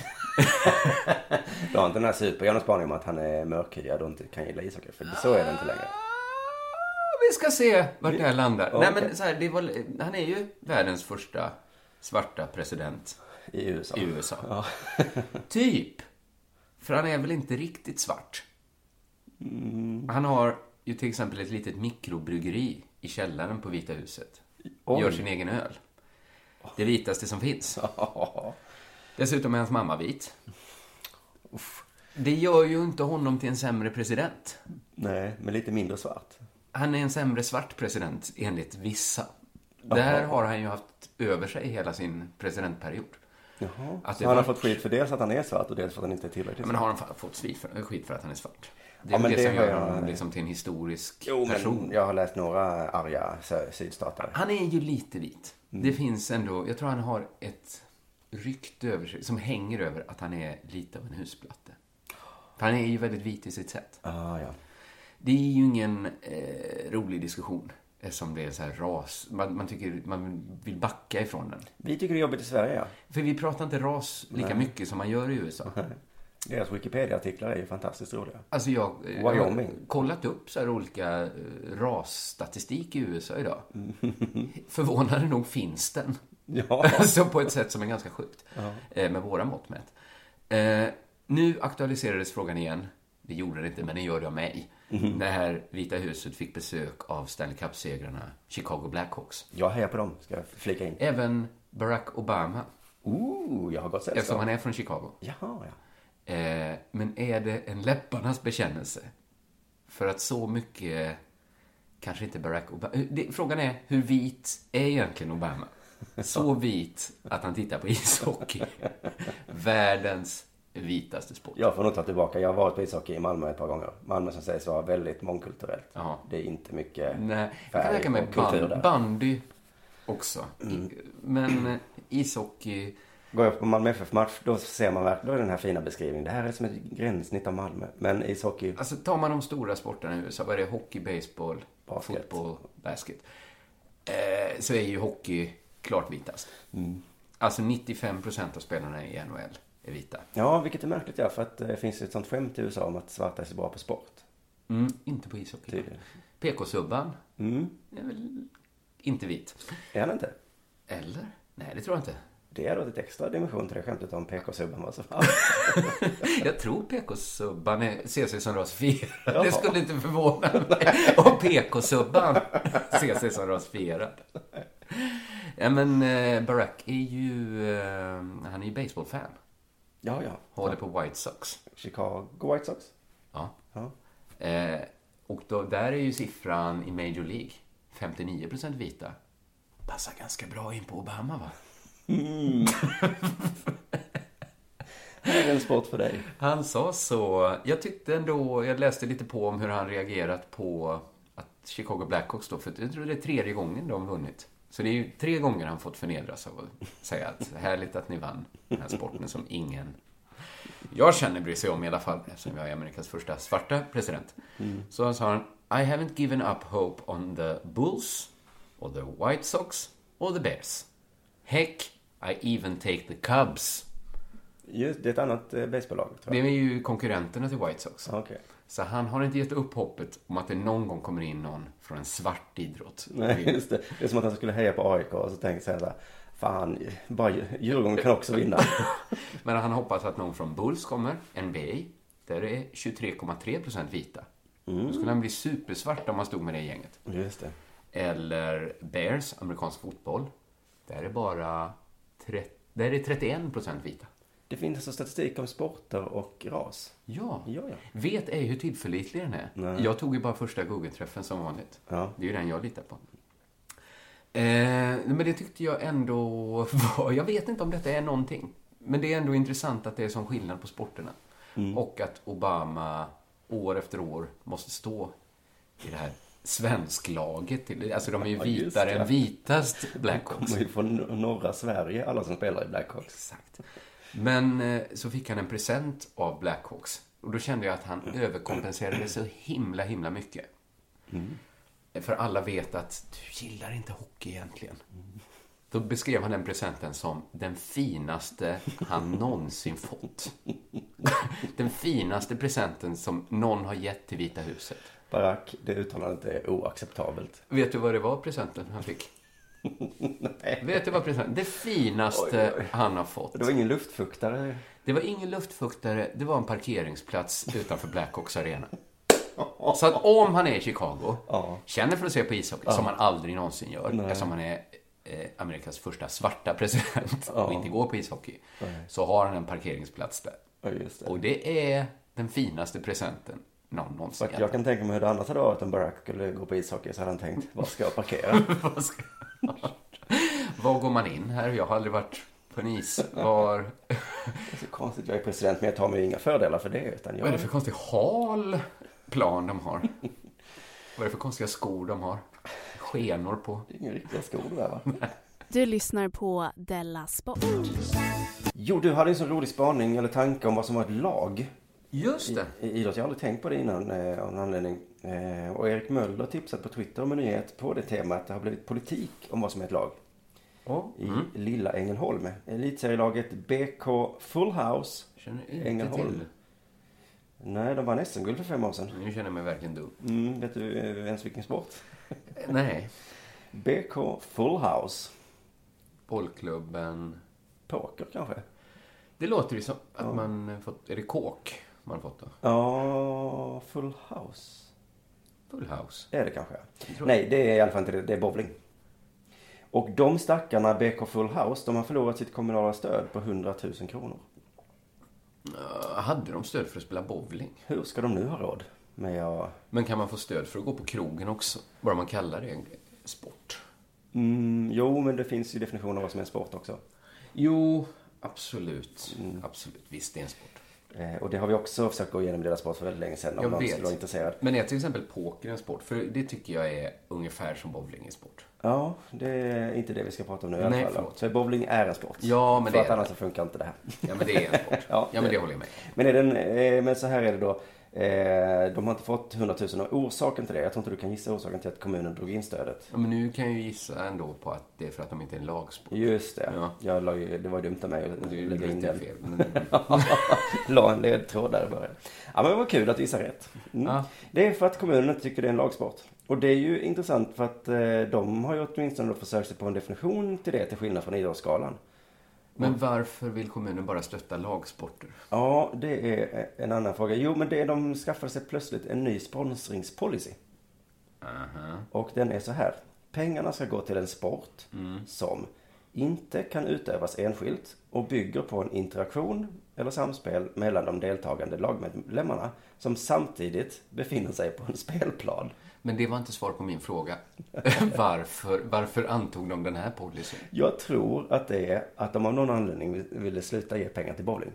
Speaker 4: Du har inte den här super, jag har en spaning om att han är mörkhyad och inte kan gilla ishockey. För så är det inte längre.
Speaker 2: Ah, Vi ska se vart det här landar.
Speaker 4: Okej.
Speaker 2: Nej, men så här, det var, han är ju världens första svarta president
Speaker 4: I USA.
Speaker 2: i USA. Typ. För han är väl inte riktigt svart?
Speaker 4: Mm.
Speaker 2: Han har ju till exempel ett litet mikrobryggeri i källaren på Vita huset.
Speaker 4: Oj.
Speaker 2: Gör sin egen öl. Det vitaste som finns. Dessutom är hans mamma vit. Det gör ju inte honom till en sämre president.
Speaker 4: Nej, men lite mindre svart.
Speaker 2: Han är en sämre svart president, enligt vissa. Där har han ju haft över sig hela sin presidentperiod.
Speaker 4: Jaha.
Speaker 2: Att
Speaker 4: så
Speaker 2: det
Speaker 4: han har
Speaker 2: var-
Speaker 4: fått skit för dels att han är svart och dels för att han inte är tillräckligt
Speaker 2: Ja, men har han fa- fått skit för, skit för att han är svart? Det är
Speaker 4: Ja,
Speaker 2: väl
Speaker 4: men
Speaker 2: det,
Speaker 4: det
Speaker 2: som
Speaker 4: har
Speaker 2: gör
Speaker 4: jag-
Speaker 2: honom liksom till en historisk
Speaker 4: Jo,
Speaker 2: person.
Speaker 4: men jag har läst några arga sö- sydstatare.
Speaker 2: Han är ju lite vit.
Speaker 4: Mm.
Speaker 2: Det finns ändå, jag tror han har ett rykte över sig som hänger över att han är lite av en husplatte. För han är ju väldigt vit i sitt sätt.
Speaker 4: Ah, ja.
Speaker 2: Det är ju ingen eh, rolig diskussion eftersom det är så här ras. Man, man, tycker, man vill backa ifrån den.
Speaker 4: Vi tycker det är jobbigt i Sverige, ja.
Speaker 2: För vi pratar inte ras lika mycket som man gör i USA.
Speaker 4: Deras Wikipedia-artiklar är ju fantastiskt roliga.
Speaker 2: Alltså jag, eh, jag har
Speaker 4: Wyoming.
Speaker 2: kollat upp så här olika eh, rasstatistik i USA idag. Förvånande nog finns den.
Speaker 4: Ja.
Speaker 2: Alltså på ett sätt som är ganska sjukt. Eh, Med våra mått mätt. Eh, Nu aktualiserades frågan igen. Det gjorde det inte, men det gör det av mig.
Speaker 4: Mm-hmm.
Speaker 2: När Vita huset fick besök av Stanley Cup-segrarna Chicago Blackhawks.
Speaker 4: Jag hejar på dem, ska jag flika in.
Speaker 2: Även Barack Obama,
Speaker 4: Ooh, jag har gått sällskap.
Speaker 2: eftersom han är från Chicago.
Speaker 4: Jaha, ja.
Speaker 2: Eh, Men är det en läpparnas bekännelse? För att så mycket... Kanske inte Barack Obama... Eh, Det, frågan är, hur vit är egentligen Obama? Så vit att han tittar på ishockey. Världens vitaste sport.
Speaker 4: Jag får nog ta tillbaka. Jag har varit på ishockey i Malmö ett par gånger. Malmö som sägs vara väldigt mångkulturellt.
Speaker 2: Ja.
Speaker 4: Det är inte mycket
Speaker 2: Nej, jag kan tänka mig
Speaker 4: och kultur
Speaker 2: band,
Speaker 4: där. Mm.
Speaker 2: bandy också. Men eh, ishockey...
Speaker 4: Går jag på Malmö FF-match, då ser man verkligen då är den här fina beskrivningen. Det här är som ett gränssnitt av Malmö. Men ishockey,
Speaker 2: Alltså tar man de stora sporterna i USA, vad är det? Hockey, baseball,
Speaker 4: Basket.
Speaker 2: fotboll, basket. Eh, så är ju hockey klart vitast.
Speaker 4: Mm.
Speaker 2: Alltså 95% av spelarna i NHL är vita.
Speaker 4: ja, vilket är märkligt ja, för att eh, det finns ju ett sånt skämt i USA om att svarta är så bra på sport.
Speaker 2: Mm, inte på ishockey.
Speaker 4: Tydligen.
Speaker 2: PK-subban
Speaker 4: Mm,
Speaker 2: är väl inte vit?
Speaker 4: är han inte?
Speaker 2: Eller? Nej, det tror jag inte.
Speaker 4: Det är då ett extra dimension till det skämtet om PK-subban var så
Speaker 2: Jag tror PK-subban är- ser sig som ras 4.
Speaker 4: Ja.
Speaker 2: Det skulle inte förvåna mig om PK-subban ser sig som ras 4. Ja, men eh, Barack är ju... Eh, han är ju baseballfan.
Speaker 4: Ja, ja.
Speaker 2: Håller på White Sox.
Speaker 4: Chicago White Sox.
Speaker 2: Ja.
Speaker 4: Ja.
Speaker 2: Eh, och då, där är ju siffran i Major League 59% vita. Passar ganska bra in på Obama, va?
Speaker 4: Det är en sport för dig.
Speaker 2: Han sa så. Jag tyckte ändå, jag läste lite på om hur han reagerat på att Chicago Blackhawks då, för jag tror det är tredje gången de vunnit. Så det är ju tre gånger han fått förnedras av att säga att härligt att ni vann den här sporten som ingen jag känner bryr sig om i alla fall, eftersom jag är Amerikas första svarta president. Så han sa han, I haven't given up hope on the Bulls, or the White Sox, or the Bears. Heck, I even take the Cubs.
Speaker 4: Just, det är ett annat eh, baseballlag tror
Speaker 2: Det
Speaker 4: jag.
Speaker 2: är ju konkurrenterna till White Sox.
Speaker 4: Ja, Okej.
Speaker 2: Så han har inte gett upp hoppet om att det någon gång kommer in någon från en svart idrott.
Speaker 4: Nej, just det. Det är som att han skulle heja på AIK och så tänkte så här, så här, fan, bara Djur- Djurgården kan också vinna.
Speaker 2: Men han hoppas att någon från Bulls kommer, NBA. Där är 23,3% vita. Då skulle han bli supersvart om han stod med det gänget.
Speaker 4: Just det.
Speaker 2: Eller Bears, amerikansk fotboll. Där är bara 30, där är 31% vita.
Speaker 4: Det finns alltså statistik om sporter och ras.
Speaker 2: Ja.
Speaker 4: Ja, ja.
Speaker 2: Vet ej hur tillförlitlig den är. Jag tog ju bara första Google-träffen som vanligt.
Speaker 4: Ja.
Speaker 2: Det är ju den jag litar på. Eh, men det tyckte jag ändå var... Jag vet inte om detta är någonting. Men det är ändå intressant att det är sån skillnad
Speaker 4: Mm.
Speaker 2: på sporterna. Och att Obama år efter år måste stå i det här svensklaget. till- Alltså de är ju
Speaker 4: Ja, just
Speaker 2: vitare
Speaker 4: det.
Speaker 2: än vitast Blackhawks.
Speaker 4: Kommer ju från no- norra Sverige, alla som spelar i Blackhawks.
Speaker 2: Exakt. Men eh, så fick han en present av Blackhawks. Och då kände jag att han överkompenserade så himla, himla mycket. För alla vet att du gillar inte hockey egentligen. Då beskrev han den presenten som den finaste han någonsin fått. den finaste presenten som någon har gett till Vita huset.
Speaker 4: Barack, det uttalandet är oacceptabelt.
Speaker 2: Vet du vad det var presenten han fick? Vet du vad presenten? Det finaste han har fått.
Speaker 4: Det var ingen luftfuktare.
Speaker 2: Det var ingen luftfuktare, det var en parkeringsplats utanför Blackhawks arena. Så att om han är i Chicago,
Speaker 4: Ja.
Speaker 2: känner för att se på ishockey, som han aldrig någonsin gör, eftersom han är eh, Amerikas första svarta president och inte går på ishockey, så har han en parkeringsplats där.
Speaker 4: Ja, just det.
Speaker 2: Och det är den finaste presenten någon någonsin
Speaker 4: Och jag kan tänka mig hur det annars hade varit om Barack skulle gå på ishockey så hade han tänkt, var ska jag parkera?
Speaker 2: Vad ska- Var går man in här? Jag har aldrig varit på en is. Var...
Speaker 4: Det är så konstigt, jag är president men jag tar mig ju inga fördelar för det. Utan
Speaker 2: Vad är det
Speaker 4: jag...
Speaker 2: för konstig hal plan de har? Vad är det för konstiga skor de har? Skenor på.
Speaker 4: Det är ingen riktiga skor där va?
Speaker 3: Du lyssnar på Della Sport.
Speaker 4: Jo, du hade ju en sån rolig spaning eller tanke om vad som var ett lag
Speaker 2: Just det.
Speaker 4: i idrott. Jag har aldrig tänkt på det innan eh, av någon anledning. Eh, och Erik Möller tipsade på Twitter om en nyhet på det temat. Det har blivit politik om vad som är ett lag
Speaker 2: Ja.
Speaker 4: i lilla Ängelholm. Elitserielaget BK Full House.
Speaker 2: Känner inte
Speaker 4: Ängelholm.
Speaker 2: till.
Speaker 4: Nej, de vann SM-guld för fem år sedan.
Speaker 2: Nu känner jag mig verkligen dum.
Speaker 4: Mm, vet du eh, ens vilken sport?
Speaker 2: Nej.
Speaker 4: BK Full House.
Speaker 2: Bollklubben.
Speaker 4: Poker kanske?
Speaker 2: Det låter ju som att man fått... Är det kåk man har fått då?
Speaker 4: Ja, Full House.
Speaker 2: Full house.
Speaker 4: Det är det kanske.
Speaker 2: tror
Speaker 4: Nej, det är i alla fall inte det. Det är bowling. Och de stackarna BK Full House, de har förlorat sitt kommunala stöd på 100 000 kronor.
Speaker 2: Uh, hade de stöd för att spela bowling?
Speaker 4: Hur ska de nu ha råd med att...
Speaker 2: Men kan man få stöd för att gå på krogen också? Bara man kallar det en sport.
Speaker 4: Mm, jo, men det finns ju definitioner av vad som är en sport också.
Speaker 2: Jo, Mm. absolut. Absolut. Visst, det är en sport.
Speaker 4: Eh, och det har vi också försökt gå igenom i Deras Sport för väldigt länge sedan om
Speaker 2: Jag
Speaker 4: någon
Speaker 2: vet.
Speaker 4: skulle vara intresserad.
Speaker 2: Men är till exempel poker en sport? För det tycker jag är ungefär som bowling är sport.
Speaker 4: Ja, det är inte det vi ska prata om nu i alla
Speaker 2: Nej,
Speaker 4: fall.
Speaker 2: förlåt.
Speaker 4: Så bowling är en sport.
Speaker 2: Ja, men
Speaker 4: för
Speaker 2: det
Speaker 4: att
Speaker 2: är
Speaker 4: annars
Speaker 2: det.
Speaker 4: så funkar inte det här.
Speaker 2: Ja, men det är en sport.
Speaker 4: Ja,
Speaker 2: ja, men
Speaker 4: det-
Speaker 2: det håller jag med
Speaker 4: Men, är den, eh, men så här är det då. Eh, De har inte fått 100 000 och orsaken till det, jag tror inte du kan gissa orsaken till att kommunen drog in stödet.
Speaker 2: ja, Men nu kan jag ju gissa ändå på att det är för att de inte är en lagsport.
Speaker 4: Just det,
Speaker 2: Ja.
Speaker 4: jag la, ju- det var dumt av mig att
Speaker 2: Det är ju
Speaker 4: lägga in
Speaker 2: lite
Speaker 4: den.
Speaker 2: fel. Men,
Speaker 4: la en ledtråd där i början. Ja men det var kul att du gissade rätt. Mm.
Speaker 2: Ja.
Speaker 4: Det är för att kommunen inte tycker det är en lagsport. Och det är ju intressant för att eh, de har ju åtminstone då försökt sig på en definition till det till skillnad från idrottsskalan.
Speaker 2: men varför vill kommunen bara stötta lagsporter?
Speaker 4: Ja, det är eh, en annan fråga. Jo, men det, de skaffade sig plötsligt en ny sponsringspolicy.
Speaker 2: Aha.
Speaker 4: Och den är så här. Pengarna ska gå till en sport som inte kan utövas enskilt och bygger på en interaktion eller samspel mellan de deltagande lagmedlemmarna som samtidigt befinner sig på en spelplan.
Speaker 2: Men det var inte svar på min fråga. varför, varför antog de den här policyn?
Speaker 4: Jag tror att det är att de av någon anledning vill- ville sluta ge pengar till bowling.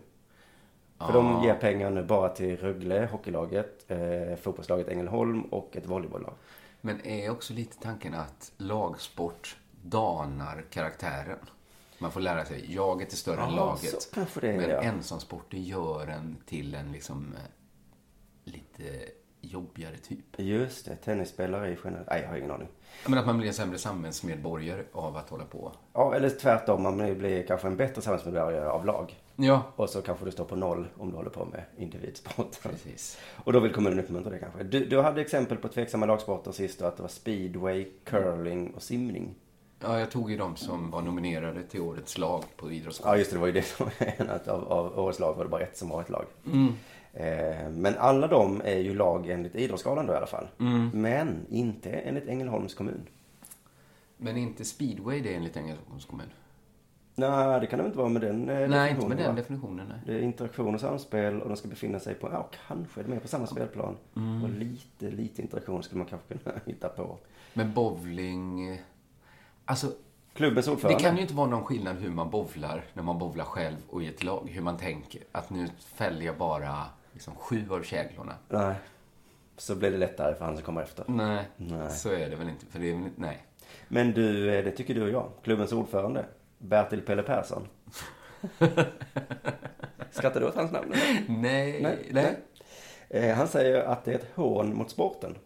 Speaker 4: För de ger pengar nu bara till Rögle, hockeylaget, eh, fotbollslaget Ängelholm och ett volleybolllag.
Speaker 2: Men är också lite tanken att lagsport danar karaktären? Man får lära sig, jaget är större än
Speaker 4: Ja,
Speaker 2: laget.
Speaker 4: så kanske det är,
Speaker 2: men
Speaker 4: ja.
Speaker 2: ensamsporter gör en till en liksom eh, lite jobbigare typ.
Speaker 4: Just det, tennisspelare är generellt... Nej, jag har ingen aning.
Speaker 2: Men att man blir en sämre samhällsmedborgare av att hålla på.
Speaker 4: Ja, eller tvärtom, man blir kanske en bättre samhällsmedborgare av lag.
Speaker 2: Ja,
Speaker 4: Och så kanske du står på noll om du håller på med individsport.
Speaker 2: precis.
Speaker 4: Och då vill kommunen uppmuntra det kanske. Du, du hade exempel på tveksamma lagsporter sist då, att det var speedway, curling och simning.
Speaker 2: Ja, jag tog ju de som var nominerade till årets lag på idrottsskolan.
Speaker 4: Ja, just det, det var ju det som var en att av, av årets lag var det bara ett som var ett lag.
Speaker 2: Mm.
Speaker 4: Eh, men alla de är ju lag enligt idrottsskalan då i alla fall.
Speaker 2: Mm.
Speaker 4: Men inte enligt Ängelholms kommun.
Speaker 2: Men inte speedway det är enligt Ängelholms kommun?
Speaker 4: Nej, det kan det inte vara med den eh,
Speaker 2: Nej, inte
Speaker 4: definitionen,
Speaker 2: med den
Speaker 4: va?
Speaker 2: definitionen. Nej.
Speaker 4: Det är interaktion och samspel och de ska befinna sig på, ja kanske är de är på samma spelplan.
Speaker 2: Mm.
Speaker 4: Och lite, lite interaktion skulle man kanske kunna hitta på.
Speaker 2: Men bowling... eh, Alltså,
Speaker 4: Klubbens
Speaker 2: Det
Speaker 4: ordförande.
Speaker 2: kan ju inte vara någon skillnad hur man bowlar när man bowlar själv och i ett lag. Hur man tänker. Att nu fäller jag bara liksom, sju av käglorna.
Speaker 4: Nej. så blir det lättare för han som kommer efter.
Speaker 2: Nej,
Speaker 4: Nej.
Speaker 2: så är det väl inte. För det är väl inte, nej.
Speaker 4: Men du, eh, det tycker du och jag. Klubbens ordförande, Bertil Pelle Persson. Skrattar du åt hans namn? eller?
Speaker 2: Nej, nej.
Speaker 4: nej. Eh, Han säger att det är ett hån mot sporten.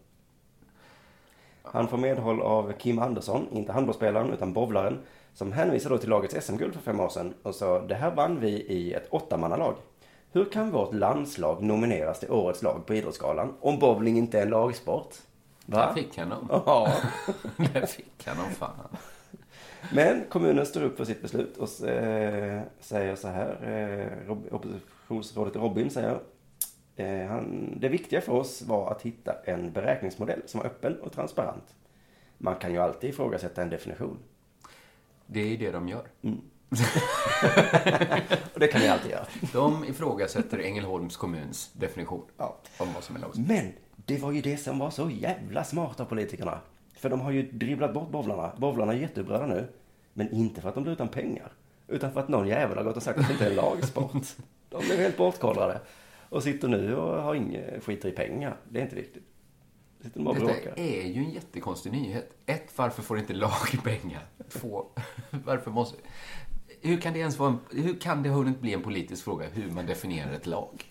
Speaker 4: Han får medhåll av Kim Andersson, inte handbollsspelaren utan bowlaren, som hänvisar då till lagets SM-guld för fem år sedan och sa det här vann vi i ett åttamannalag. Hur kan vårt landslag nomineras till årets lag på Idrottsgalan om bowling inte är en lagsport?
Speaker 2: Där fick han dem.
Speaker 4: Ja.
Speaker 2: Där fick han dem fan.
Speaker 4: Men kommunen står upp för sitt beslut och eh, säger så här. Eh, Rob- oppositionsrådet Robin säger. Eh, han, det viktiga för oss var att hitta en beräkningsmodell som var öppen och transparent. Man kan ju alltid ifrågasätta en definition.
Speaker 2: Det är ju det de gör.
Speaker 4: Och det kan vi alltid göra.
Speaker 2: De ifrågasätter Ängelholms kommuns definition om vad som är lagsport.
Speaker 4: Men det var ju det som var så jävla smart av politikerna. För de har ju dribblat bort bowlarna. Bowlarna är jätteupprörda nu. Men inte för att de blir utan pengar. Utan för att någon jävel har gått och sagt att det inte är en lagsport. De blev helt bortkollrade. Och sitter nu och har inga, skiter i pengar. Det är inte viktigt. Sitter de bara och
Speaker 2: Detta
Speaker 4: bråkar.
Speaker 2: är ju en jättekonstig nyhet. Ett, varför får inte lag pengar? Två, varför måste... Hur kan det ens vara en... Hur kan det hunnit bli en politisk fråga hur man definierar ett lag?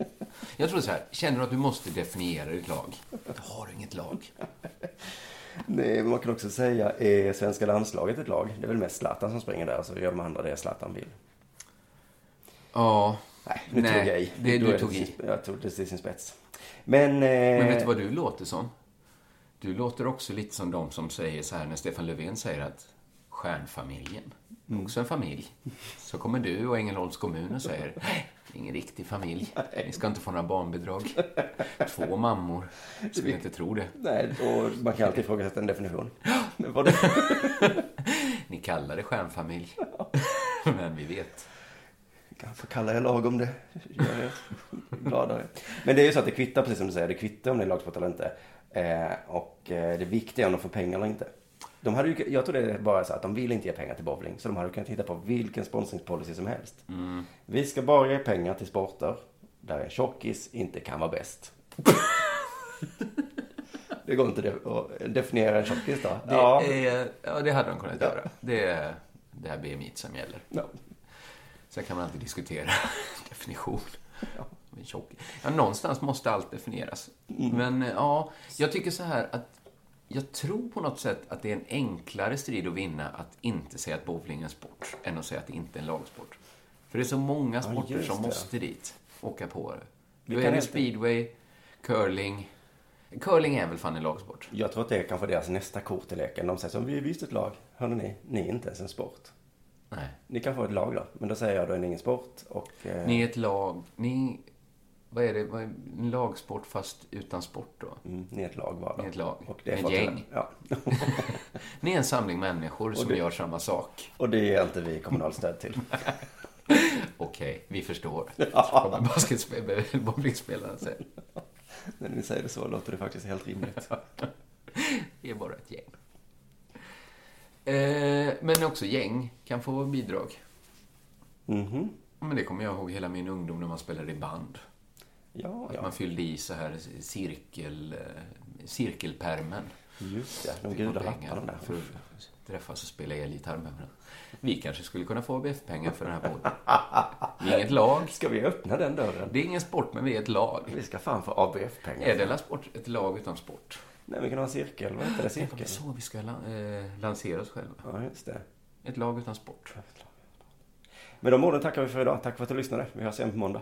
Speaker 2: Jag tror så här, känner du att du måste definiera ditt lag? Då har du inget lag.
Speaker 4: Nej, men man kan också säga, är svenska landslaget ett lag? Det är väl mest Zlatan som springer där, så gör de andra det Zlatan vill.
Speaker 2: Ja.
Speaker 4: Nej, nu tog jag i.
Speaker 2: Det,
Speaker 4: Då är
Speaker 2: du
Speaker 4: det
Speaker 2: tog
Speaker 4: till
Speaker 2: i.
Speaker 4: sin- Jag tog det till sin spets. Men... Eh,
Speaker 2: Men vet du vad du låter som? Du låter också lite som de som säger så här när Stefan Löfven säger att stjärnfamiljen,
Speaker 4: Mm.
Speaker 2: också en familj. Så kommer du och Ängelholms kommun och säger, "Nej, ingen riktig familj. Ni ska inte få några barnbidrag. Två mammor. Skulle inte tro det.
Speaker 4: Nej, och man kan alltid ifrågasätta en definition. Men vad det-
Speaker 2: Ni kallar det stjärnfamilj. Men vi vet.
Speaker 4: Kanske kallar jag lag om det. Gör jag gladare. Men det är ju så att det kvittar, precis som du säger, det kvittar om det är lagsport eller inte. Eh, och eh, det viktiga är om de får pengar eller inte. De hade ju, jag tror det är bara så att de vill inte ge pengar till bowling. Så de hade kunnat hitta på vilken sponsringspolicy som helst.
Speaker 2: Mm.
Speaker 4: Vi ska bara ge pengar till sporter där en tjockis inte kan vara bäst. det går inte det- att definiera en tjockis då.
Speaker 2: Det,
Speaker 4: ja.
Speaker 2: är, ja, det hade de kunnat göra. Det är det här BMI som gäller.
Speaker 4: Ja.
Speaker 2: Sen kan man alltid diskutera definition. Men tjock. Ja, någonstans måste allt definieras.
Speaker 4: Mm.
Speaker 2: Men eh, ja, jag tycker så här att jag tror på något sätt att det är en enklare strid att vinna att inte säga att bowling är en sport än att säga att det inte är en lagsport. För det är så många sporter
Speaker 4: just
Speaker 2: som
Speaker 4: det.
Speaker 2: måste dit, åka på det.
Speaker 4: Vi
Speaker 2: Då
Speaker 4: kan
Speaker 2: är det
Speaker 4: inte-
Speaker 2: speedway, curling. Curling är väl fan en lagsport?
Speaker 4: Jag tror att det är kanske deras nästa kort i leken. De säger som vi är visst ett lag. Hörde ni, ni är inte ens en sport.
Speaker 2: Nej.
Speaker 4: Ni kan få ett lag då. Men då säger jag då är ni ingen sport. Och, eh,
Speaker 2: Ni är ett lag. Ni... Vad är det? Vad är en lagsport fast utan sport då?
Speaker 4: mm, ni är ett lag bara. då.
Speaker 2: Ni är ett lag.
Speaker 4: Och det är
Speaker 2: Ni är
Speaker 4: för
Speaker 2: ett
Speaker 4: att-
Speaker 2: gäng.
Speaker 4: Ja.
Speaker 2: Ni är en samling människor som
Speaker 4: det-
Speaker 2: gör samma sak.
Speaker 4: Och det ger inte vi kommunalstöd till.
Speaker 2: Okej, vi förstår.
Speaker 4: Ja.
Speaker 2: Kommer basketspel- bowlingspelarna säga.
Speaker 4: När ni säger det så låter det faktiskt helt rimligt.
Speaker 2: Vi är bara ett gäng. Eh, men också gäng kan få bidrag.
Speaker 4: Mhm.
Speaker 2: Men det kommer jag ihåg hela min ungdom när man spelade i band.
Speaker 4: Ja,
Speaker 2: Att
Speaker 4: ja.
Speaker 2: Man fyllde i så här cirkel, eh, cirkelpärmen.
Speaker 4: Just det. De
Speaker 2: Fick man
Speaker 4: gula
Speaker 2: pengar
Speaker 4: lapparna där.
Speaker 2: För att träffas och spela elgitarr med varandra. Vi kanske skulle kunna få ABF-pengar för den här podden. Vi är inget lag.
Speaker 4: Ska vi öppna den dörren?
Speaker 2: Det är ingen sport, men vi är ett lag.
Speaker 4: Vi ska fan få ABF-pengar.
Speaker 2: Är Della Sport ett lag utan sport?
Speaker 4: Nej, vi kan ha en cirkel. Vad heter det?
Speaker 2: Det är
Speaker 4: Cirkel?
Speaker 2: så vi ska lan- eh, lansera oss själva.
Speaker 4: Ja, just det.
Speaker 2: Ett lag utan sport.
Speaker 4: Med de orden tackar vi för idag. Tack för att du lyssnade. Vi hörs igen på måndag.